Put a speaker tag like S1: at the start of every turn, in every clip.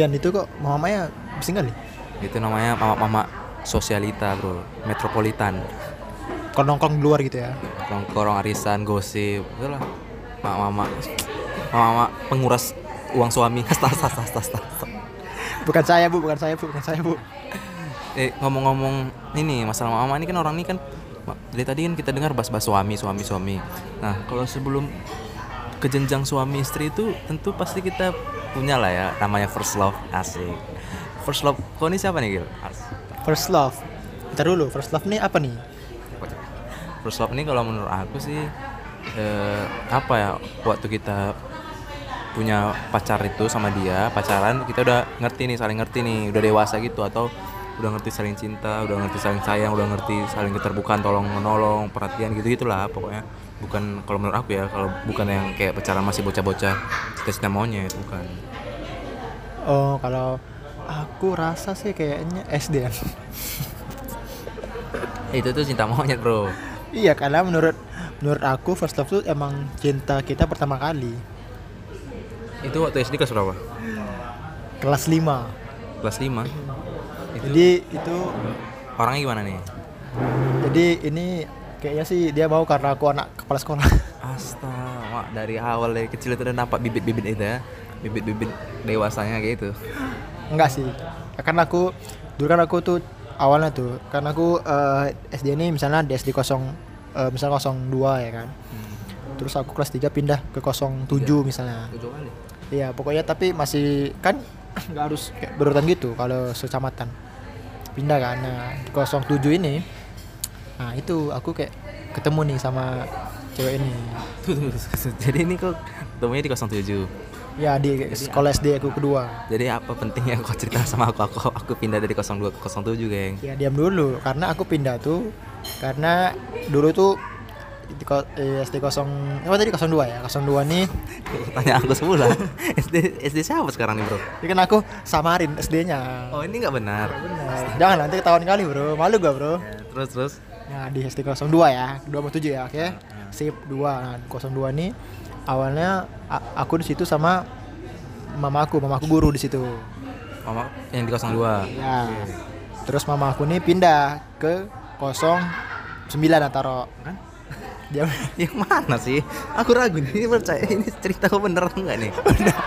S1: Yan itu kok ya mamanya bising kali.
S2: Itu namanya mamak-mamak sosialita, Bro. Metropolitan.
S1: Kok nongkrong di luar gitu ya.
S2: Nongkrong arisan, gosip, itulah. Mamak-mamak. Mamak-mamak penguras uang suami. Stas, stas, stas, stas, stas.
S1: Bukan saya, Bu, bukan saya, Bu, bukan saya, Bu.
S2: Eh, ngomong-ngomong ini masalah mama ini kan orang ini kan ma- dari tadi kan kita dengar bahas-bahas suami, suami, suami. Nah, kalau sebelum ke jenjang suami istri itu tentu pasti kita punya lah ya namanya first love asik. First love kau ini siapa nih Gil? As-
S1: First love. Bentar dulu, first love nih apa nih?
S2: First love ini kalau menurut aku sih eh, apa ya waktu kita punya pacar itu sama dia pacaran kita udah ngerti nih saling ngerti nih udah dewasa gitu atau udah ngerti saling cinta udah ngerti saling sayang udah ngerti saling keterbukaan tolong menolong perhatian gitu gitulah pokoknya bukan kalau menurut aku ya kalau bukan yang kayak pacaran masih bocah-bocah cita-cita monyet bukan
S1: Oh, kalau aku rasa sih kayaknya SD kan.
S2: Eh, itu tuh cinta monyet bro
S1: iya, karena menurut menurut aku first love tuh emang cinta kita pertama kali.
S2: itu waktu SD kelas berapa
S1: Kelas 5.
S2: kelas 5 itu
S1: Jadi itu
S2: orangnya gimana nih
S1: jadi ini kayaknya sih dia mau karena aku anak kepala sekolah.
S2: Astaga, Mak, dari awal dari kecil itu udah nampak bibit-bibit itu ya. Bibit-bibit dewasanya kayak gitu.
S1: Enggak sih. Karena aku dulu kan aku tuh awalnya tuh karena aku eh, SD ini misalnya di SD 0 eh, misalnya 02 ya kan. Terus aku kelas 3 pindah ke 07 misalnya.
S2: Tujuh kali.
S1: Iya, pokoknya tapi masih kan nggak harus kayak berurutan gitu kalau secamatan. Pindah kan. Nah, di 07 ini nah itu aku kayak ketemu nih sama cewek ini.
S2: Tuh, tuh, tuh, tuh. Jadi ini kok ketemunya di 07.
S1: Ya di sekolah SD aku kedua.
S2: Jadi apa pentingnya kau cerita sama aku? Aku aku pindah dari 02 ke 07, geng.
S1: Ya diam dulu karena aku pindah tuh karena dulu tuh di ko- eh, SD 0 apa tadi 02 ya 02 nih
S2: Tanya aku semula. SD SD siapa sekarang nih, Bro?
S1: ini kan aku samarin SD-nya
S2: Oh, ini nggak benar.
S1: Nah, jangan nanti ketahuan kali bro malu gua bro
S2: Ya, terus terus
S1: Nah, di SD 02 ya, 27 ya, oke. Sip 2. Nah, 02 nih awalnya a- aku di situ sama mamaku, mamaku guru di situ.
S2: Mama yang di 02.
S1: Ya. Terus mama aku nih pindah ke 09 ataro.
S2: Kan?
S1: Dia
S2: Yang mana sih? Aku ragu nih, ini percaya ini cerita kau bener atau enggak nih?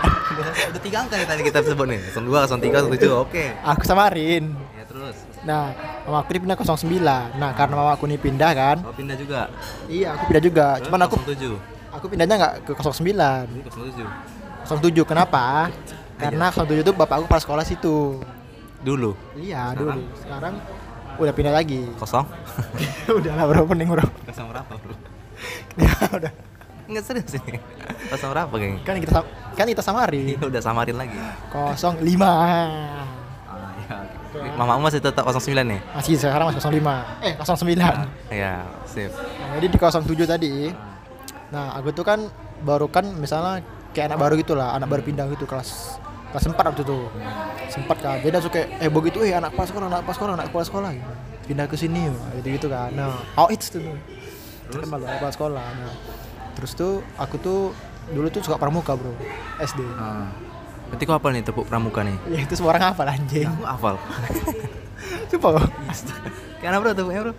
S2: Udah tiga angka nih tadi kita sebut nih. 02, 03, 07. Oke.
S1: aku samarin.
S2: Ya terus,
S1: Nah, mama aku nih pindah 09. Nah, karena mama aku nih pindah kan.
S2: kau Oh, pindah juga.
S1: Iya, aku pindah juga. Cuman aku
S2: 07.
S1: aku pindahnya nggak ke 09.
S2: Ini 07.
S1: 07 kenapa? Karena 07 itu bapakku pas sekolah situ.
S2: Dulu
S1: Iya dulu. Sekarang udah pindah lagi.
S2: kosong.
S1: udah lah bro, pening bro.
S2: Kosong berapa, Bro?
S1: Ya, udah.
S2: Enggak serius ini. Kosong berapa, geng?
S1: Kan kita sam- kan kita
S2: Ini
S1: samarin.
S2: udah samarin lagi.
S1: 05.
S2: Ah, ya. oke. Mamamu masih tetap 09 nih.
S1: Masih sekarang masih 05. Eh 09.
S2: Ya, sip.
S1: Nah, jadi di 07 tadi. Nah, aku tuh kan baru kan misalnya kayak anak baru gitu lah, anak baru pindah gitu kelas kelas 4 waktu itu. Sempat kan. Dia langsung kayak eh begitu eh anak pas sekolah, anak pas sekolah, anak kepala sekolah gitu. Pindah ke sini gitu-gitu kan. Nah, oh it's tuh. Terkenal anak kepala sekolah. Nah, terus tuh aku tuh dulu tuh suka pramuka, Bro. SD.
S2: Ah. Berarti kau apa nih tepuk pramuka nih?
S1: Ya itu semua orang hafal anjing.
S2: Aku hafal.
S1: Coba Bro.
S2: Karena bro tepuknya bro.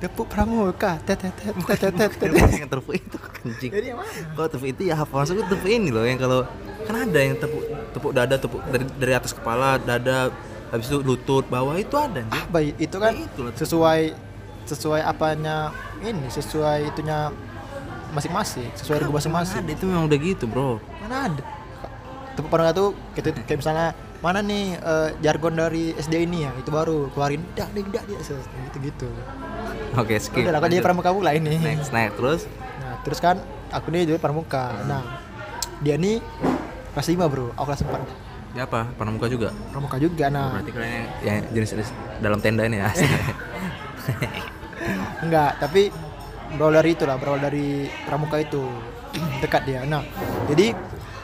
S1: tepuk pramuka. Tet tet tet tet tet, tet, tet.
S2: Yang tepuk itu kencing.
S1: Jadi yang mana?
S2: Kalau tepuk itu ya hafal maksudku tepuk ini loh yang kalau kan ada yang tepuk tepuk dada tepuk dari, dari atas kepala dada habis itu lutut bawah itu ada anjing.
S1: apa ya, itu kan
S2: Ya, itulah.
S1: sesuai sesuai apanya ini sesuai itunya masing-masing sesuai regu masing-masing
S2: Ada itu memang udah gitu bro.
S1: mana ada tepuk pandang tuh kayak, kayak misalnya mana nih eh, jargon dari SD ini ya itu baru keluarin dak dik dak gitu gitu
S2: Oke skip.
S1: udah lah kan jadi
S2: Lanjut.
S1: pramuka pula ini
S2: Next Hmm. next terus.
S1: nah terus kan aku nih jadi pramuka nah dia nih kelas 5 bro aku kelas 4
S2: Ya apa? Pramuka juga.
S1: pramuka juga nah
S2: Berarti kalian yang, yang jenis-jenis dalam tenda ini ya.
S1: Iya. Enggak, tapi berawal dari itu lah, berawal dari pramuka itu dekat dia. Nah, jadi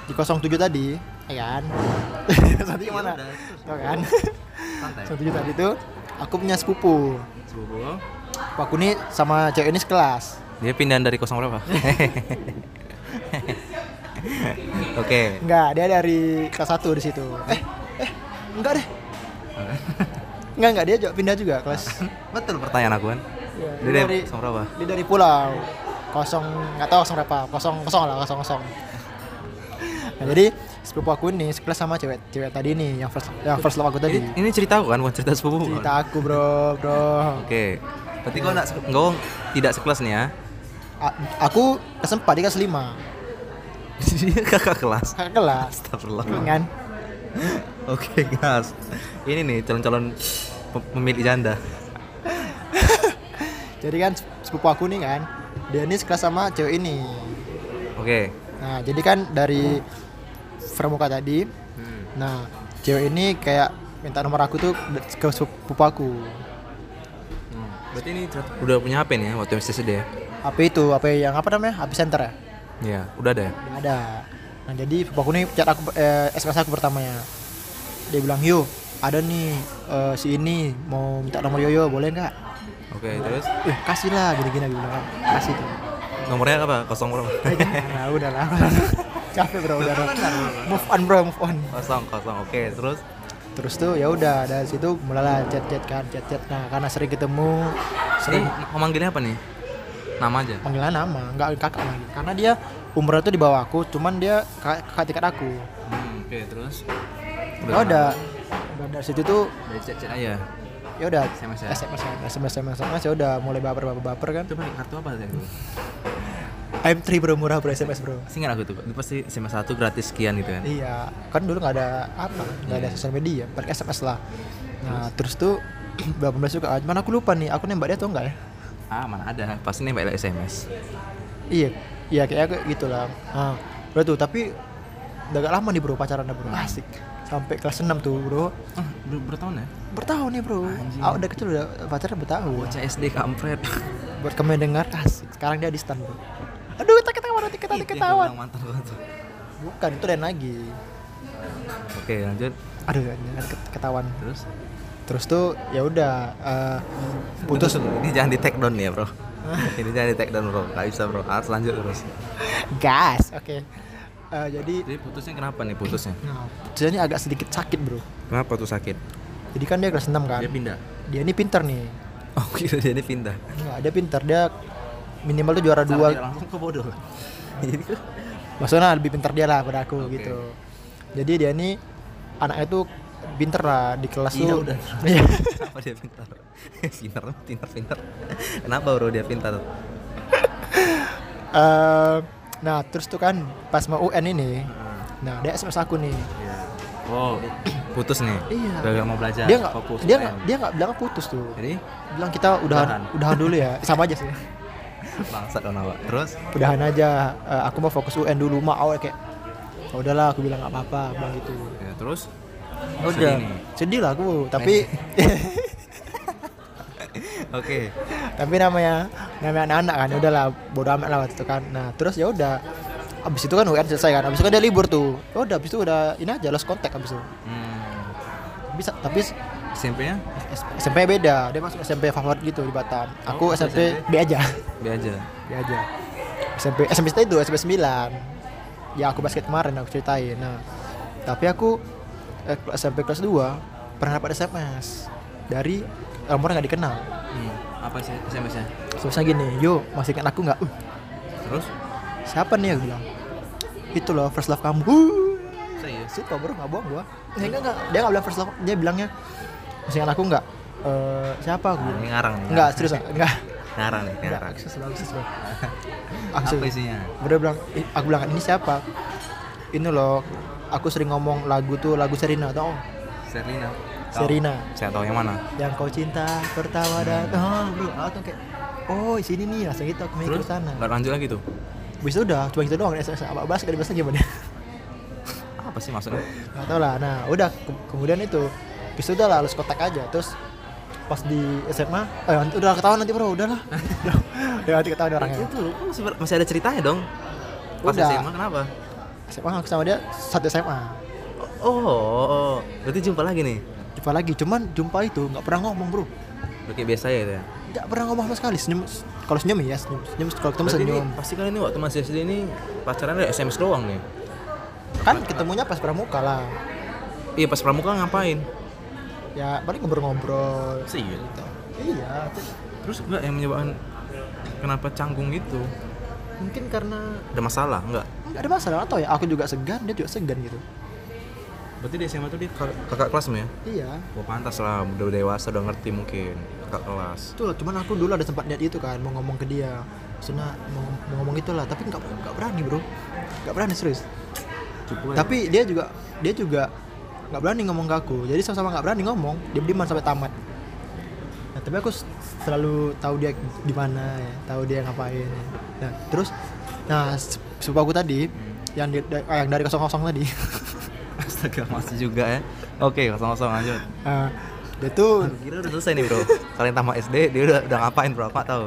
S1: di 07 tadi, ya kan? Satu yang mana?
S2: udah,
S1: Tuh kan?
S2: Santai.
S1: 07 tadi itu aku punya sepupu.
S2: Sepupu.
S1: Sepupu Aku nih sama cewek ini sekelas.
S2: Dia pindahan dari kosong berapa? Oke.
S1: Enggak, dia dari kelas 1 di situ. Eh, enggak deh enggak enggak dia juga pindah juga kelas
S2: Betul pertanyaan aku kan.
S1: Iya,
S2: Dia
S1: dia
S2: dari
S1: dari-
S2: sama berapa?
S1: dia dari pulau kosong nggak tahu kosong berapa kosong kosong lah kosong kosong nah, jadi sepupu aku ini sekelas sama cewek cewek tadi nih yang first yang first love aku tadi
S2: Ini, ini cerita aku kan, bukan cerita sepupu. kan?
S1: cerita aku bro bro
S2: Oke. Berarti kau enggak kau tidak sekelas nih ya.
S1: A- aku kesempat dia kelas lima
S2: Dia kakak kelas.
S1: kakak kelas
S2: Astagfirullah.
S1: kan
S2: Oke, gas. Ini nih calon-calon pem- pemilik janda.
S1: jadi kan sepupu aku nih kan dia ini sekelas sama cewek ini
S2: Oke.
S1: nah jadi kan dari pramuka tadi
S2: Hmm,
S1: nah cewek ini kayak minta nomor aku tuh ke sepupu aku
S2: Hmm. Berarti ini cer- udah punya HP nih ya waktu MSD ya?
S1: apa itu apa yang apa namanya HP center ya
S2: Iya, udah ada ya?
S1: Nggak ada nah jadi sepupu aku nih chat aku eh, SMS aku pertamanya dia bilang yo ada nih eh, si ini mau minta nomor yoyo boleh nggak
S2: Oke, terus
S1: eh kasih lah gini gini bilang kan kasih tuh
S2: nomornya apa? Kosong berapa?
S1: Eh, jangan lah, udah lah capek bro udah bro. move on bro move on
S2: kosong, kosong. Oke, terus
S1: terus tuh ya udah dari situ mulailah chat chat kan chat chat nah karena sering ketemu
S2: ini
S1: sering
S2: mau manggilnya apa nih? Nama aja.
S1: panggilan nama nggak kakak lagi karena dia umurnya tuh di bawah aku cuman dia kakak kakak tingkat aku
S2: Hmm, Oke, terus
S1: udah udah, udah dari situ tuh
S2: Dari chat-chat aja.
S1: ya udah
S2: SMS ya?
S1: SMS SMS SMS SMS ya udah mulai baper baper baper kan
S2: Itu pakai kartu apa sih?
S1: M3 bro murah bro SMS bro
S2: Singkat aku tuh, itu pasti SMA 1 gratis sekian gitu kan.
S1: iya kan dulu nggak ada apa nggak ada sosial media pakai SMS lah nah Iya. terus tuh berapa belas juga cuman aku lupa nih aku nembak dia atau enggak ya
S2: Ah, mana ada. Pasti nih baik SMS.
S1: iya iya kayak aku gitu lah nah bro tuh tapi udah agak lama nih bro pacaran bro asik sampai kelas 6 tuh bro
S2: Ah, ber bertahun ya?
S1: bertahun nih bro ah, udah kecil udah pacaran bertahun
S2: Bocah SD kampret.
S1: buat kamu yang dengar asik sekarang dia di stand bro aduh tak ketawa nanti ketawa
S2: Itu yang
S1: ketawa
S2: bilang mantan gua tuh.
S1: bukan itu lain lagi
S2: Oke, lanjut.
S1: aduh jangan ket- ketahuan
S2: Terus
S1: terus tuh ya udah eh, putus
S2: ini jangan di take down ya, Bro. ini jangan di take down, Bro. Gak bisa, Bro. Harus lanjut terus.
S1: gas oke Eh, jadi
S2: Jadi putusnya kenapa nih putusnya?
S1: nah, putusannya agak sedikit sakit bro
S2: Kenapa tuh sakit?
S1: jadi kan dia kelas 6 kan
S2: Dia pindah.
S1: dia ini pinter nih
S2: Oh, kira dia ini pindah.
S1: Nggak, dia pinter dia minimal tuh juara dua
S2: Dia langsung ke bodoh. Jadi tuh
S1: maksudnya lebih pinter dia lah pada aku
S2: Oke.
S1: gitu jadi dia ini anaknya tuh pinter lah di kelas
S2: Iya,
S1: tuh
S2: udah.
S1: Iya.
S2: kenapa dia pintar? pintar, pintar, pintar. Kenapa, Bro, dia pintar?
S1: Eh, nah terus tuh kan pas mau UN ini nah dia sms aku nih
S2: Ah, Oh, putus nih.
S1: Iya.
S2: Gak mau belajar.
S1: dia nggak
S2: fokus.
S1: dia
S2: UKM.
S1: nggak dia nggak bilang putus tuh
S2: Jadi
S1: bilang kita udahan
S2: Udahan.
S1: udahan dulu ya sama aja sih
S2: bangsat dong awak. Terus
S1: udahan aja Eh, aku mau fokus UN dulu mak awal kayak "Oh, udahlah aku bilang nggak apa-apa bilang gitu
S2: ya, terus
S1: udah
S2: Sedih nih.
S1: sedih lah aku tapi
S2: Oke.
S1: tapi namanya namanya anak-anak kan udahlah bodo amat lah waktu itu kan nah terus ya udah abis itu kan UN selesai kan abis itu kan dia libur tuh Ya udah abis itu udah ini aja lost contact abis itu
S2: Hmm.
S1: bisa tapi
S2: SMP-nya
S1: SMP beda dia masuk SMP favorit gitu di Batam aku
S2: Oh,
S1: SMP B
S2: SMP.
S1: aja
S2: B aja.
S1: B Ya aja SMP SMP itu SMP 9 ya aku basket kemarin aku ceritain nah tapi aku eh, kelas- SMP kelas 2 pernah dapat SMS dari nomor nggak dikenal
S2: Hmm. Apa sih SMS-nya?
S1: terusnya gini yo masih ingat aku nggak Uh,
S2: Terus
S1: siapa nih aku bilang itu loh first love kamu Uh,
S2: serius.
S1: suka bro nggak bohong gua Eh, nggak nggak dia nggak bilang first love dia bilangnya masih ingat aku nggak Eh, siapa aku
S2: Nah,
S1: bilang
S2: ini ngarang nih.
S1: nggak serius nggak
S2: Ngarang nih,
S1: nggak
S2: ngarang.
S1: akses bro akses bro
S2: Apa
S1: Akses.
S2: isinya?
S1: Bro bilang, "Ih," aku bilang ini siapa? Ini loh, aku sering ngomong lagu tuh lagu Serina tau? nggak?
S2: Serlina. Tahu.
S1: Serina
S2: Saya tahu yang mana.
S1: yang kau cinta pertama dan oh bro, aku tuh kayak oh sini nih langsung gitu aku mikir
S2: Terus
S1: ke sana.
S2: nggak lanjut lagi tuh.
S1: Bisa udah, cuma gitu doang. SMS apa bahas gak dibahasnya gimana?
S2: Apa sih maksudnya?
S1: Gak tau lah. Nah udah ke- kemudian itu, bisa udah lah, harus kontak aja. Terus pas di SMA, eh nanti udah ketahuan nanti bro, udah lah. ya nanti ketahuan orangnya.
S2: Itu masih, masih ada ceritanya dong. Pas
S1: Udah.
S2: SMA kenapa?
S1: SMA aku sama dia satu SMA.
S2: Oh, oh, oh. berarti jumpa lagi nih.
S1: Jumpa lagi, cuman jumpa itu nggak pernah ngomong bro.
S2: Oke biasa ya itu ya.
S1: Tidak pernah ngomong sama sekali senyum kalau senyum ya senyum senyum kalau ketemu
S2: Berarti
S1: senyum
S2: ini pasti kalian ini waktu masih SD ini pacaran dari SMS doang nih.
S1: kan ketemunya pas pramuka lah
S2: iya pas pramuka ngapain
S1: ya paling ngobrol-ngobrol
S2: sih gitu
S1: iya tuh.
S2: terus enggak yang menyebabkan kenapa canggung gitu
S1: mungkin karena
S2: ada masalah enggak
S1: nggak ada masalah atau ya aku juga segan dia juga segan gitu
S2: berarti di SMA tuh dia kak- kakak kelasmu ya
S1: iya
S2: Wah pantas lah, udah dewasa udah ngerti mungkin kakak kelas.
S1: Itulah, cuman aku dulu ada sempat niat itu kan mau ngomong ke dia Maksudnya mau, mau ngomong itulah tapi nggak nggak berani bro nggak berani serius
S2: Cukup lah.
S1: tapi dia juga dia juga nggak berani ngomong ke aku jadi sama-sama nggak berani ngomong dia dieman sampai tamat nah, tapi aku s- selalu tahu dia di mana ya tahu dia ngapain ya. nah terus nah se- sepupu aku tadi yang di- da- eh, yang dari kosong kosong tadi
S2: astaga masih juga ya. Oke, kosong-kosong lanjut.
S1: nah, dia tuh
S2: Kira udah selesai nih bro. Kalian tamat SD, dia udah udah ngapain bro? Aku nggak tahu.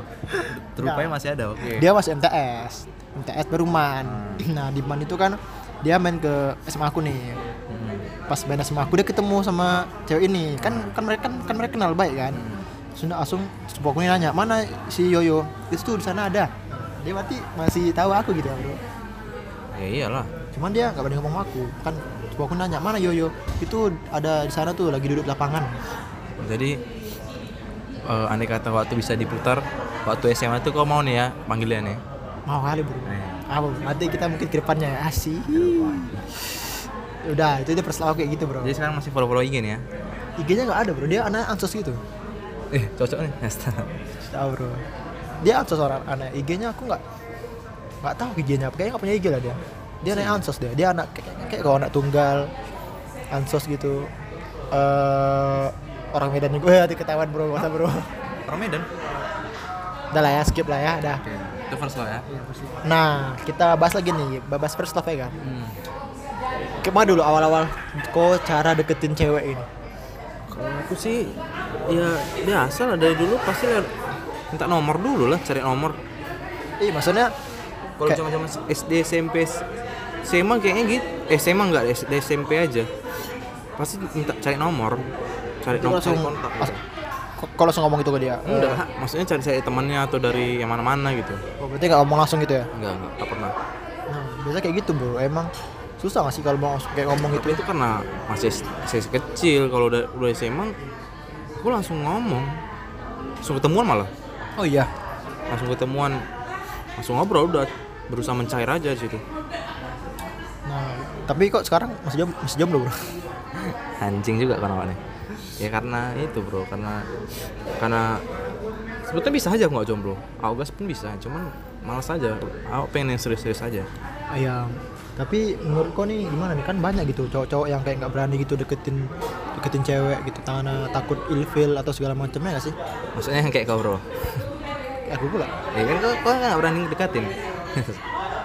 S2: Terupanya masih ada, oke.
S1: dia masih MTS MTS baru man nah di man itu kan dia main ke SMA aku nih
S2: Hmm.
S1: pas main SMA aku dia ketemu sama cewek ini kan kan mereka kan, kan mereka kenal baik kan sudah langsung sepupu aku ini nanya mana si Yoyo itu tuh di sana ada dia berarti masih tahu aku gitu ya, bro
S2: Ya iyalah.
S1: cuman dia nggak berani ngomong sama aku kan sepupu aku nanya mana Yoyo itu ada di sana tuh lagi duduk di lapangan
S2: Jadi eh, andai kata waktu bisa diputar, waktu SMA tuh kau mau nih ya panggilan ya.
S1: mau kali bro apa nanti kita mungkin ke depannya ya asih udah itu dia perselau kayak gitu bro
S2: Jadi sekarang masih follow-follow IG nih ya.
S1: IG-nya nggak ada bro, dia anak ansos gitu.
S2: Eh, cocok nih. Astaga.
S1: Tahu bro. Dia ansos orang anak IG-nya aku nggak nggak tahu IG-nya apa. Kayaknya nggak punya IG lah dia. Dia anak ansos dia. Dia anak kayak, kayak kalau anak tunggal ansos gitu. eh orang Medan juga ya ketahuan bro, masa bro.
S2: Orang Medan.
S1: Udah lah ya, skip lah ya, dah.
S2: Oke. Itu first lah ya.
S1: Nah, kita bahas lagi nih, bahas first love ya kan.
S2: Hmm.
S1: Kemana dulu awal-awal kok cara deketin cewek ini?
S2: Kalau aku sih ya biasa lah dari dulu pasti lah minta nomor dulu lah cari nomor.
S1: Iya, maksudnya
S2: Kalau
S1: Kayak-
S2: zaman zaman SD SMP S- SMA kayaknya gitu eh, SMA nggak SD SMP aja pasti minta cari nomor
S1: itu
S2: cari nomor
S1: langsung Eh.
S2: cari kontak.
S1: kalau langsung ngomong itu ke dia.
S2: Enggak, maksudnya cari cari temannya atau dari yang mana-mana gitu.
S1: Oh, berarti nggak ngomong langsung gitu ya?
S2: Enggak, enggak, nggak pernah.
S1: Nah, biasa kayak gitu bro, emang susah gak sih kalau mau kayak ngomong gitu?
S2: Tapi itu karena masih masih kecil kalau udah udah SMA gue langsung ngomong. Langsung ketemuan malah.
S1: Oh iya.
S2: langsung ketemuan langsung ngobrol udah berusaha mencair aja di situ
S1: Nah, tapi kok sekarang masih jam masih jam bro?
S2: anjing juga kan awalnya ya karena itu bro karena karena sebetulnya bisa aja aku nggak jomblo Augas pun bisa cuman malas aja aku pengen yang serius-serius aja
S1: Iya. Tapi menurut kau nih gimana nih kan banyak gitu cowok-cowok yang kayak nggak berani gitu deketin deketin cewek gitu karena takut ilfil atau segala macamnya gak sih?
S2: maksudnya yang kayak kau bro
S1: Kayak Aku pula.
S2: ya kan kau kau nggak berani dekatin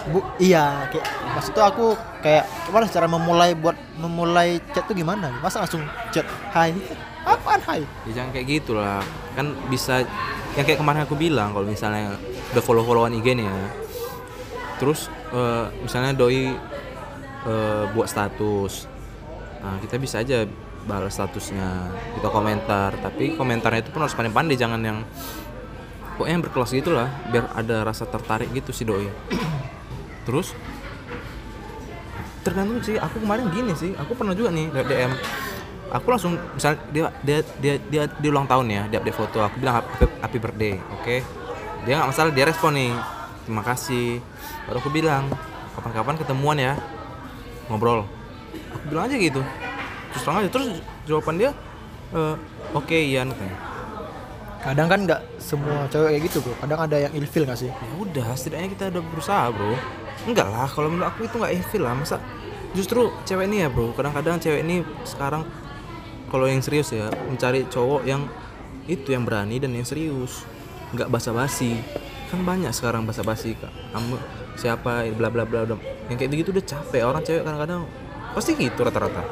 S1: Bu, iya, kayak maksud tuh aku kayak gimana cara memulai buat memulai chat tuh gimana? Masa langsung chat hai? Apaan hai?
S2: ya jangan kayak gitulah kan bisa yang kayak kemarin aku bilang kalau misalnya udah follow followan IG nih ya terus eh, misalnya doi eh, buat status nah kita bisa aja balas statusnya kita komentar tapi komentarnya itu pun harus pandai-pandai jangan yang pokoknya yang berkelas gitulah biar ada rasa tertarik gitu si doi terus tergantung sih aku kemarin gini sih aku pernah juga nih liat DM aku langsung misalnya dia dia dia dia, dia ulang tahun ya dia update foto aku bilang happy, happy birthday oke dia nggak masalah dia respon nih terima kasih baru aku bilang kapan-kapan ketemuan ya ngobrol aku bilang aja gitu terus terang aja terus jawaban dia "Eh, oke Ian katanya.
S1: Kadang kan nggak semua cewek kayak gitu bro. Kadang ada yang ilfil gak sih?
S2: ya udah setidaknya kita udah berusaha bro enggak lah kalau menurut aku itu nggak evil lah masa justru cewek ini ya bro kadang-kadang cewek ini sekarang kalau yang serius ya mencari cowok yang itu yang berani dan yang serius nggak basa-basi kan banyak sekarang basa-basi kak kamu siapa bla bla bla udah yang kayak begitu udah capek orang cewek kadang-kadang pasti gitu rata-rata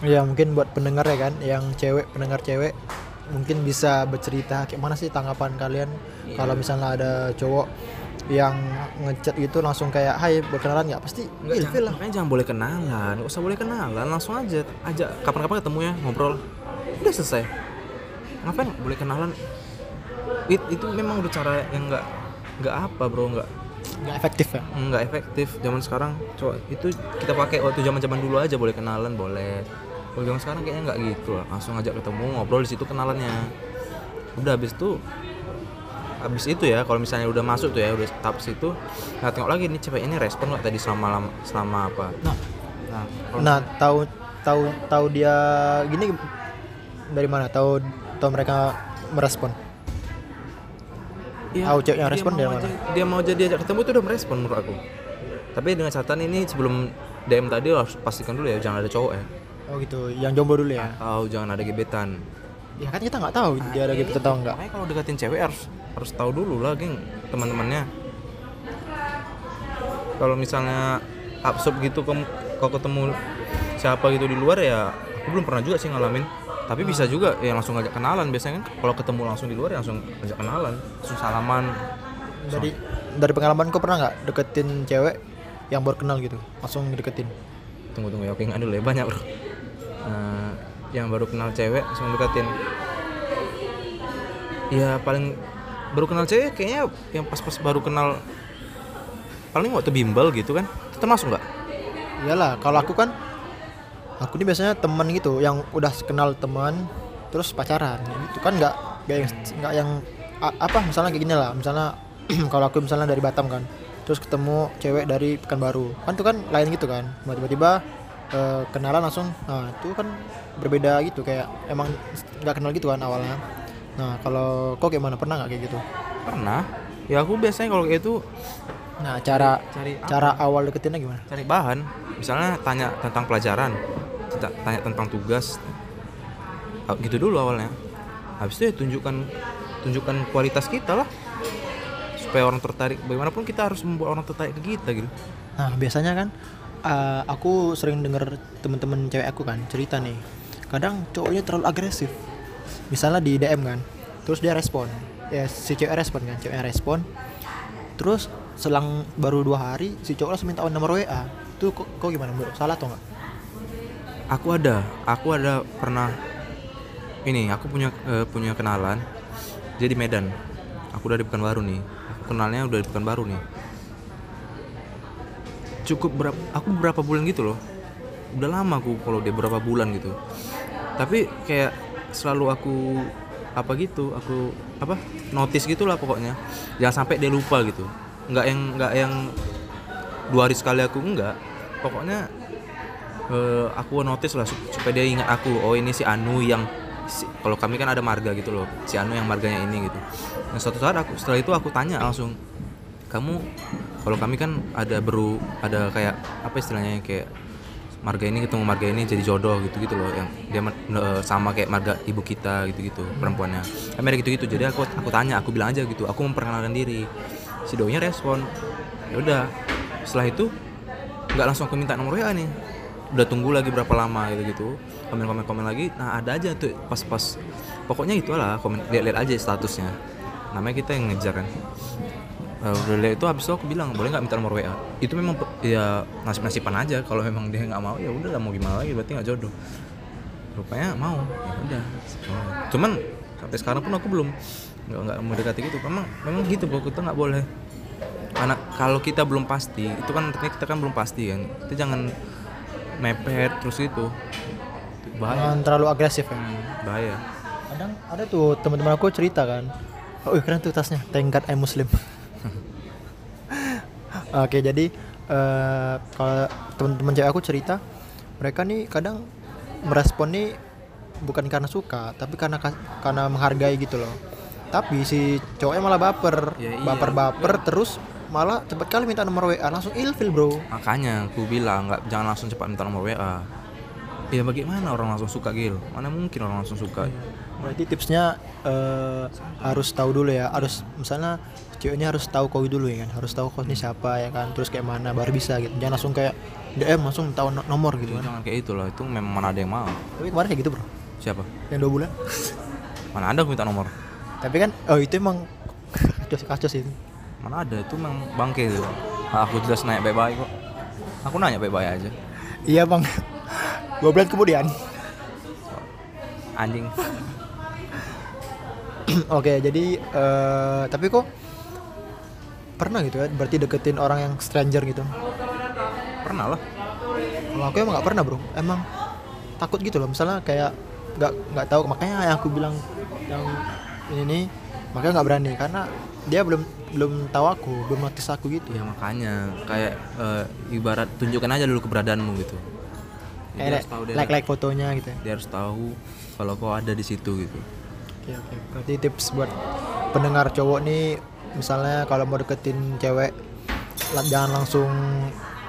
S1: Ya mungkin buat pendengar ya kan, yang cewek pendengar cewek mungkin bisa bercerita kayak mana sih tanggapan kalian kalau misalnya ada cowok yang ngechat gitu langsung kayak Hai berkenalan nggak pasti
S2: Nggak,
S1: ilfil
S2: jangan,
S1: lah.
S2: makanya jangan boleh kenalan nggak usah boleh kenalan langsung aja aja kapan-kapan ketemu ya ngobrol udah selesai ngapain boleh kenalan It- itu memang udah cara yang nggak nggak apa bro nggak
S1: nggak efektif ya.
S2: nggak efektif zaman sekarang cowok itu kita pakai waktu zaman zaman dulu aja boleh kenalan boleh kalau zaman sekarang kayaknya nggak gitu lah langsung ngajak ketemu ngobrol di situ kenalannya udah habis itu habis itu ya kalau misalnya udah masuk tuh ya udah tahap situ nah tengok lagi nih cewek ini respon nggak tadi selama lama- selama apa
S1: Nah,
S2: nah kalau-
S1: nah tahu tahu tahu dia gini dari mana? Tahu tahu mereka merespon.
S2: Iya,
S1: Ah, ceweknya
S2: dia
S1: respon
S2: mau
S1: dia
S2: aja-
S1: malah.
S2: dia mau jadi ajak ketemu itu udah merespon menurut aku tapi dengan catatan ini sebelum DM tadi harus pastikan dulu ya jangan ada cowok ya
S1: Oh gitu, yang jomblo dulu ya.
S2: atau jangan ada gebetan
S1: Ya kan kita nggak tahu dia ada gitu atau enggak.
S2: makanya kalau deketin cewek harus harus tahu dulu lah geng teman-temannya kalau misalnya absurd gitu kamu kau ketemu siapa gitu di luar ya aku belum pernah juga sih ngalamin tapi bisa
S1: Hmm.
S2: juga ya langsung ngajak kenalan biasanya kan kalau ketemu langsung di luar ya langsung ngajak kenalan langsung salaman
S1: Dari dari pengalaman kau pernah nggak deketin cewek yang baru kenal gitu? Langsung deketin.
S2: tunggu tunggu ya oke nggak dulu ya banyak bro Eh, yang baru kenal cewek langsung deketin ya paling baru kenal cewek kayaknya yang pas-pas baru kenal paling waktu bimbel gitu kan itu termasuk nggak
S1: Iyalah, kalau aku kan aku ini biasanya teman gitu yang udah kenal teman terus pacaran itu kan nggak nggak yang nggak yang a- apa misalnya kayak gini lah misalnya kalau aku misalnya dari Batam kan terus ketemu cewek dari Pekanbaru kan itu kan lain gitu kan Nah, tiba-tiba eh, kenalan langsung nah itu kan berbeda gitu kayak emang nggak kenal gitu kan awalnya nah kalau kok gimana pernah nggak kayak gitu
S2: pernah ya aku biasanya kalau kayak itu
S1: nah cara
S2: cari
S1: cara awal deketinnya gimana
S2: cari bahan misalnya tanya tentang pelajaran tita- tanya tentang tugas Ah, gitu dulu awalnya habis itu ya tunjukkan tunjukkan kualitas kita lah supaya orang tertarik bagaimanapun kita harus membuat orang tertarik ke kita gitu
S1: Nah biasanya kan eh, aku sering denger temen-temen cewek aku kan cerita nih kadang cowoknya terlalu agresif misalnya di DM kan terus dia respon ya si cewek respon kan cewek respon terus selang baru dua hari si cowok langsung minta nomor WA itu kok, kok gimana menurut salah atau enggak
S2: aku ada aku ada pernah ini aku punya eh, punya kenalan dia di Medan aku dari Pekanbaru nih aku kenalnya udah di Pekanbaru nih cukup berapa aku berapa bulan gitu loh udah lama aku kalau dia berapa bulan gitu tapi kayak selalu aku apa gitu aku apa notice gitulah pokoknya jangan sampai dia lupa gitu nggak yang nggak yang dua hari sekali aku enggak pokoknya eh, aku notice lah sup- supaya dia ingat aku oh ini si Anu yang si- kalau kami kan ada marga gitu loh si Anu yang marganya ini gitu nah suatu saat aku setelah itu aku tanya langsung kamu kalau kami kan ada beru ada kayak apa istilahnya kayak marga ini ketemu marga ini jadi jodoh gitu gitu loh yang dia men- eh, sama kayak marga ibu kita gitu gitu perempuannya Amerika gitu gitu jadi aku aku tanya aku bilang aja gitu aku memperkenalkan diri si doinya respon ya udah setelah itu nggak langsung aku minta nomor WA nih udah tunggu lagi berapa lama gitu gitu komen komen komen lagi nah ada aja tuh pas pas pokoknya itulah komen lihat lihat aja statusnya namanya kita yang ngejar kan Eh, udah lihat itu habis itu aku bilang boleh nggak minta nomor WA itu memang pe- ya nasib nasiban aja kalau memang dia nggak mau ya udah lah mau gimana lagi berarti nggak jodoh rupanya mau ya udah mau. cuman sampai sekarang pun aku belum nggak nggak mau dekati gitu memang memang gitu bro kita nggak boleh anak kalau kita belum pasti itu kan artinya kita kan belum pasti kan kita jangan mepet terus itu Itu bahaya
S1: Jangan terlalu agresif ya
S2: Hmm, bahaya
S1: kadang ada tuh teman-teman aku cerita kan oh ih, keren tuh tasnya tengkat I'm Muslim oke jadi eh, kalau teman-teman cewek aku cerita mereka nih kadang merespon nih bukan karena suka tapi karena kas- karena menghargai gitu loh tapi si cowoknya malah baper
S2: Ya iya.
S1: baper-baper terus malah cepet kali minta nomor WA langsung ilfil bro
S2: makanya aku bilang nggak jangan langsung cepat minta nomor WA ya bagaimana orang langsung suka gil mana mungkin orang langsung suka
S1: Berarti tipsnya eh, harus tahu dulu ya, harus misalnya ceweknya harus tahu kau dulu ya kan, harus tahu kau ini siapa ya kan, terus kayak mana baru bisa gitu. Jangan langsung kayak DM langsung tahu no- nomor gitu kan.
S2: jangan kayak itu loh itu memang mana ada yang mau
S1: Tapi kemarin kayak gitu bro,
S2: siapa
S1: yang dua bulan.
S2: mana ada aku minta nomor
S1: Tapi kan, oh itu emang kacau-kacau sih itu.
S2: mana ada itu memang bangke itu Ah, aku jelas nanya baik-baik kok aku nanya baik-baik aja
S1: Iya bang, dua bulan kemudian.
S2: anjing
S1: Oke, jadi eh, tapi kok pernah gitu ya, berarti deketin orang yang stranger gitu.
S2: pernah lah
S1: Kalau aku emang nggak pernah bro, emang takut gitu loh misalnya kayak nggak nggak tahu makanya yang aku bilang yang ini nih makanya nggak berani karena dia belum belum tahu aku belum notice aku gitu
S2: ya makanya kayak eh, ibarat tunjukkan aja dulu keberadaanmu gitu Jadi dia
S1: kayak
S2: harus tahu dia,
S1: like like fotonya gitu
S2: dia harus tahu kalau kau ada di situ gitu
S1: Oke, oke. Berarti tips buat pendengar cowok nih, misalnya kalau mau deketin cewek, la- jangan langsung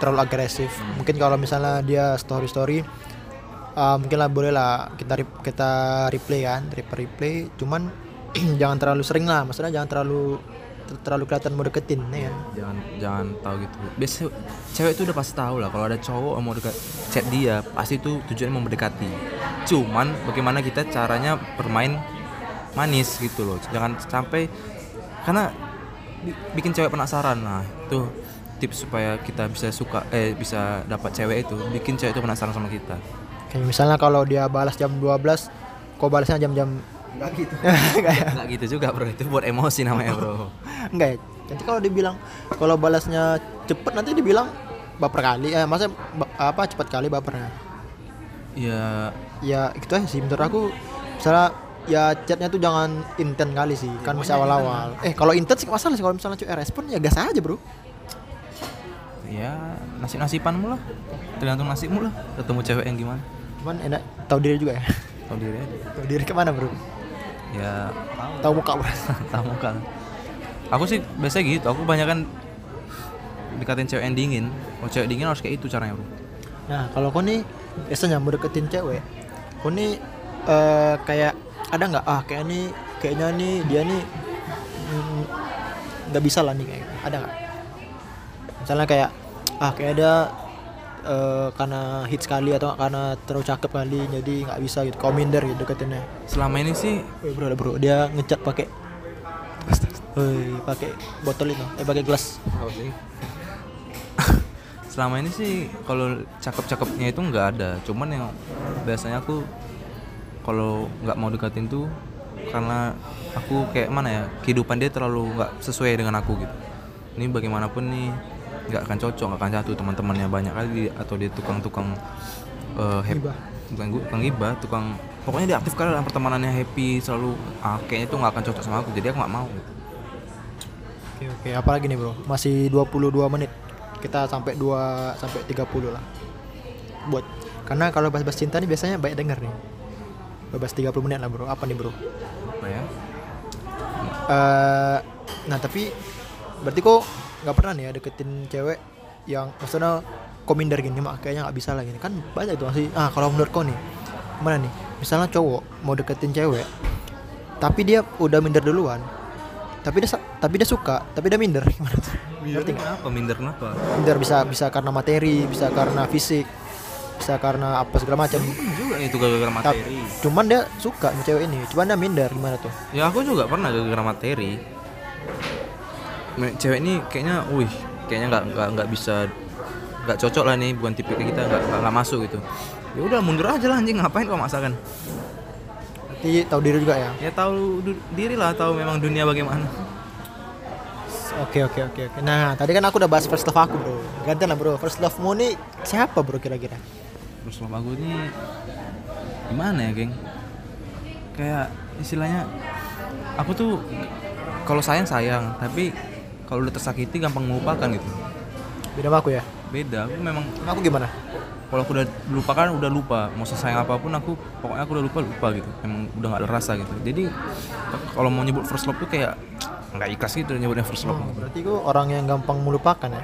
S1: terlalu agresif. Mungkin kalau misalnya dia story story, mungkin lah boleh lah kita rep- kita replay kan, rep- replay. Cuman jangan terlalu sering lah, maksudnya jangan terlalu ter- terlalu kelihatan mau deketin, ya kan?
S2: jangan jangan tahu gitu biasanya cewek tuh udah pasti tahu lah kalau ada cowok yang mau dekat chat dia pasti itu tujuannya mau mendekati cuman bagaimana kita caranya bermain manis gitu loh jangan sampai karena bi- bikin cewek penasaran nah tuh tips supaya kita bisa suka eh bisa dapat cewek itu bikin cewek itu penasaran sama kita
S1: Kayak misalnya kalau dia balas jam 12, kok balasnya jam-jam
S2: nggak gitu nggak gitu juga bro itu buat emosi namanya bro
S1: Enggak ya. Nanti kalau dibilang kalau balasnya cepet nanti dibilang baper kali. Eh masa ba- apa cepat kali bapernya.
S2: ya
S1: Ya gitu aja sih menurut aku misalnya ya chatnya tuh jangan intent kali sih kan masih awal-awal. Eh kalau intent sih nggak masalah sih kalau misalnya cewek respon ya gas aja bro.
S2: ya nasib nasibanmu lah tergantung nasibmu lah ketemu cewek yang gimana
S1: Cuman enak tahu diri juga ya.
S2: tahu diri aja
S1: Tahu diri kemana bro?
S2: ya
S1: Tahu muka bro.
S2: tahu kan aku sih biasanya gitu aku banyak kan dikatain cewek yang dingin kalau cewek dingin harus kayak itu caranya bro
S1: Nah kalau kau nih biasanya mau deketin cewek, kau nih eh, kayak ada nggak ah kayak nih kayaknya nih dia nih mm, nggak bisa lah nih kayak ada nggak? Misalnya kayak ah kayak ada eh, karena hits kali atau nggak karena terlalu cakep kali jadi nggak bisa gitu kau minder gitu deketinnya.
S2: selama ini sih
S1: Eh bro bro dia ngecat pakai Woi, pakai botol itu, eh pakai gelas.
S2: selama ini sih kalau cakep-cakepnya itu nggak ada cuman yang biasanya aku kalau nggak mau deketin tuh karena aku kayak mana ya kehidupan dia terlalu nggak sesuai dengan aku gitu ini bagaimanapun nih nggak akan cocok nggak akan jatuh teman-temannya banyak kali atau dia tukang-tukang eh happy
S1: Gibah.
S2: tukang gu- tukang gibah tukang pokoknya dia aktif kali dalam pertemanannya happy selalu ah, kayaknya tuh nggak akan cocok sama aku jadi aku nggak mau gitu.
S1: Oke oke, apalagi nih bro? Masih 22 menit. Kita sampai 2 sampai 30 lah. Buat karena kalau bahas-bahas cinta nih biasanya banyak denger nih. Bahas 30 menit lah bro. Apa nih bro?
S2: apa ya
S1: Eh, nah tapi berarti kok nggak pernah nih ya deketin cewek yang maksudnya kominder gini mak kayaknya nggak bisa lah gini kan banyak tuh masih ah kalau menurut kau nih mana nih misalnya cowok mau deketin cewek tapi dia udah minder duluan tapi dia sa- tapi dia suka tapi dia minder gimana tuh ngerti nggak
S2: kenapa minder kenapa
S1: minder bisa bisa karena materi bisa karena fisik bisa karena apa segala macam
S2: Hmm, juga itu gara-gara
S1: tapi
S2: materi
S1: cuman dia suka sama cewek ini cuman dia minder gimana tuh
S2: ya aku juga pernah gara-gara materi Me- cewek ini kayaknya wih kayaknya nggak nggak nggak bisa nggak cocok lah nih bukan tipe kita nggak nggak- nggak masuk gitu ya udah mundur aja lah anjing ngapain kok maksakan
S1: berarti tahu diri juga ya
S2: ya tahu du- diri lah tahu memang dunia bagaimana
S1: Oke oke oke oke. Nah tadi kan aku udah bahas first love aku bro. Gantian lah bro. First love mu nih siapa bro kira-kira?
S2: terus lama aku ini gimana ya geng kayak istilahnya aku tuh kalau sayang sayang tapi kalau udah tersakiti gampang melupakan gitu
S1: Beda sama aku ya.
S2: beda aku memang
S1: Sama Aku gimana?
S2: kalau aku udah lupakan udah lupa mau sesayang apapun aku pokoknya aku udah lupa lupa gitu emang udah nggak ada rasa gitu jadi kalau mau nyebut first love tuh kayak nggak ikhlas gitu nyebutnya first love
S1: Hmm, berarti gue orang yang gampang melupakan ya.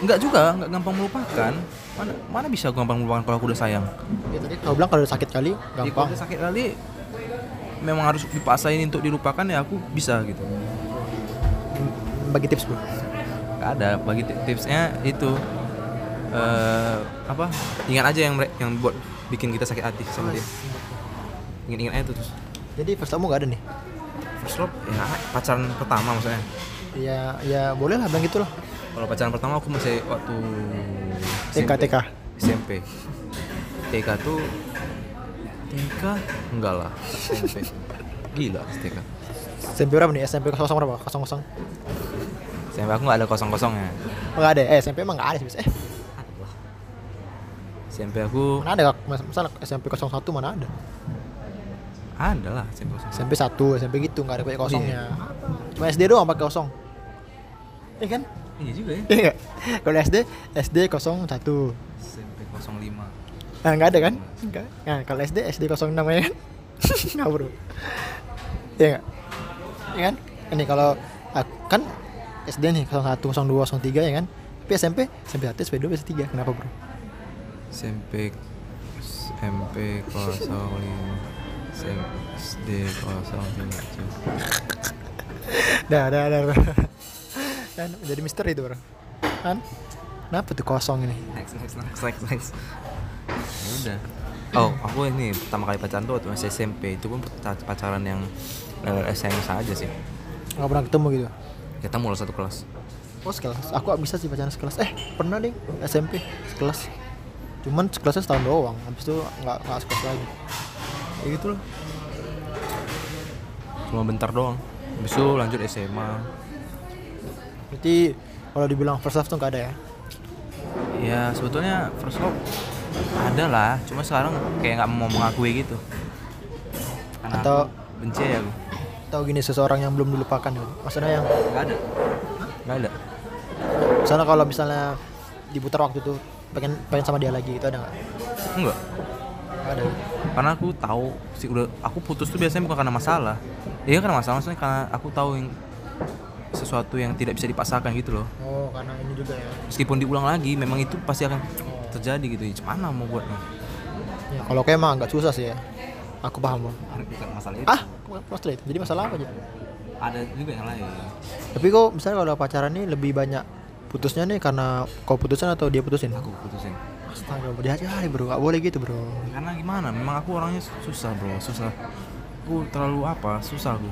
S2: nggak juga nggak gampang melupakan mana mana bisa aku gampang melupakan kalau aku udah sayang
S1: Ya tadi kau bilang kalau udah sakit kali
S2: Jadi kalau
S1: gampang.
S2: udah sakit kali memang harus dipaksain untuk dilupakan ya aku bisa gitu
S1: Hmm, Bagi tips bro.
S2: nggak ada bagi ti- tipsnya itu eh, apa ingat aja yang mere- yang buat bikin kita sakit hati sama dia ingat-ingat aja tuh terus
S1: Jadi first love mu gak ada nih?
S2: First love ya pacaran pertama maksudnya.
S1: Ya ya boleh lah bilang gitulah.
S2: Kalau pacaran pertama aku masih waktu
S1: TK TK.
S2: SMP. TK tuh TK enggak lah SMP. Gila TK.
S1: SMP berapa nih? SMP 00 berapa? 00.
S2: SMP aku nggak ada kosong kosongnya.
S1: Enggak ada. Eh SMP emang gak ada sih. Eh
S2: SMP aku
S1: Mana ada mas- masalah SMP 01 mana ada?
S2: ada lah SMP
S1: SMP 1, SMP gitu nggak ada pakai kosongnya. Cuma SD doang pakai kosong. Iya kan?
S2: iya juga ya
S1: Iya nggak? Kalau SD, SD 01.
S2: SMP 05
S1: Nah, nggak ada kan? Nggak. Nah, kalau SD, SD 06 ya kan? nggak bro. Iya nggak? Iya kan? Ini kalau aku- kan SD nih 01, 02, 03 ya kan? Tapi SMP, SMP 1, SMP 2, SMP 3. Kenapa bro?
S2: SMP SMP 05 SD 05
S1: Dah, dah, dah. dah. nah, Kan jadi misteri itu bro. Kan? Kenapa tuh kosong ini?
S2: next next next next next ya udah oh aku ini pertama kali pacaran tuh waktu masih SMP itu pun pacar- pacaran yang eh, SMS aja sih
S1: Nggak pernah ketemu gitu.
S2: kita mulai satu kelas
S1: Oh sekelas, aku bisa sih pacaran sekelas. Eh pernah deh SMP sekelas. Cuman sekelasnya setahun doang, habis itu nggak nggak sekelas lagi. Ya gitu loh.
S2: cuma bentar doang habis itu lanjut SMA
S1: Berarti kalau dibilang first love tuh nggak ada ya?
S2: ya sebetulnya first love ada lah cuma sekarang kayak nggak mau mengakui gitu Karena
S1: Atau-
S2: aku benci ya aku
S1: Tahu gini seseorang yang belum dilupakan gitu. Maksudnya yang
S2: nggak ada nggak ada
S1: misalnya kalau misalnya diputar waktu tuh pengen pengen sama dia lagi itu ada nggak?
S2: enggak
S1: Nggak ada.
S2: karena aku tahu sih udah aku putus tuh biasanya bukan karena masalah iya karena masalah maksudnya karena aku tahu yang sesuatu yang tidak bisa dipaksakan gitu loh
S1: Oh karena ini juga ya.
S2: meskipun diulang lagi memang itu pasti akan terjadi gitu ya mana mau buatnya
S1: Ya kalau kayak mah nggak susah sih ya. Aku paham loh.
S2: bukan masalah itu
S1: Ah, kok kok straight. Jadi masalah apa gitu?
S2: ada juga yang lain
S1: Tapi kok misalnya kalau pacaran nih lebih banyak putusnya nih karena kau putusin atau dia putusin?
S2: aku putusin
S1: Astaga, bro, hati-hati bro, gak boleh gitu bro
S2: karena gimana memang aku orangnya susah bro susah aku terlalu apa susah aku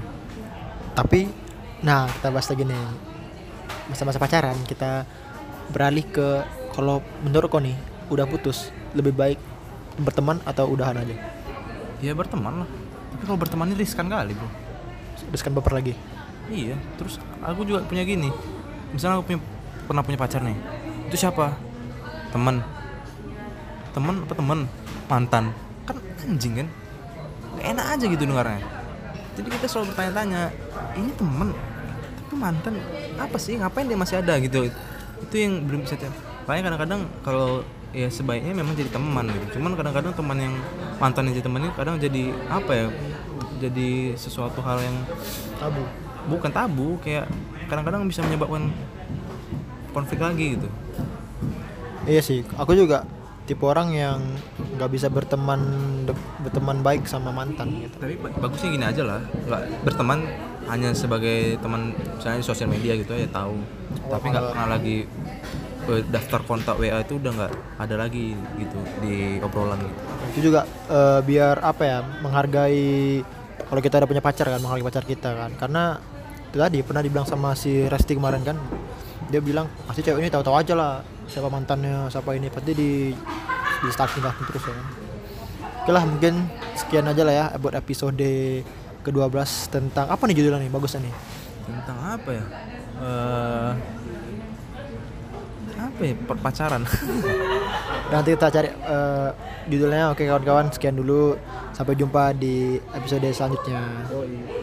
S1: Tapi, nah kita bahas lagi nih Masa-masa pacaran kita beralih ke Kalau menurut kau nih, udah putus Lebih baik berteman atau udahan aja
S2: ya berteman lah tapi kalau bertemannya riskan kali bro
S1: Teruskan baper lagi
S2: Iya, terus aku juga punya gini. Misalnya aku punya, pernah punya pacar nih. Itu siapa? Temen. Temen apa temen? Mantan. Kan anjing kan? Nggak enak aja gitu dengarnya. Jadi kita selalu bertanya-tanya, ini temen, tapi mantan apa sih? Ngapain dia masih ada gitu? Itu yang belum bisa tahu. Makanya kadang-kadang kalau ya sebaiknya memang jadi teman gitu. Cuman kadang-kadang teman yang mantan yang jadi teman ini kadang jadi apa ya? Jadi sesuatu hal yang
S1: Tabu
S2: bukan tabu kayak kadang-kadang bisa menyebabkan konflik lagi gitu
S1: Iya sih, aku juga tipe orang yang nggak bisa berteman berteman baik sama mantan gitu
S2: tapi ba- bagusnya gini aja lah nggak berteman hanya sebagai teman misalnya di sosial media gitu ya tahu tapi nggak pernah lagi eh, daftar kontak WA itu udah nggak ada lagi gitu di obrolan gitu
S1: itu juga eh, biar apa ya menghargai kalau kita ada punya pacar kan menghargai pacar kita kan karena itu tadi pernah dibilang sama si Resti kemarin kan dia bilang pasti cewek ini tahu-tahu aja lah siapa mantannya siapa ini pasti di di stalking stalking terus ya kan oke lah mungkin sekian aja lah ya buat episode ke-12 tentang apa nih judulnya nih bagusnya nih
S2: tentang apa ya Eh, apa ya Per- pacaran
S1: nanti kita cari eh, judulnya oke kawan-kawan sekian dulu sampai jumpa di episode selanjutnya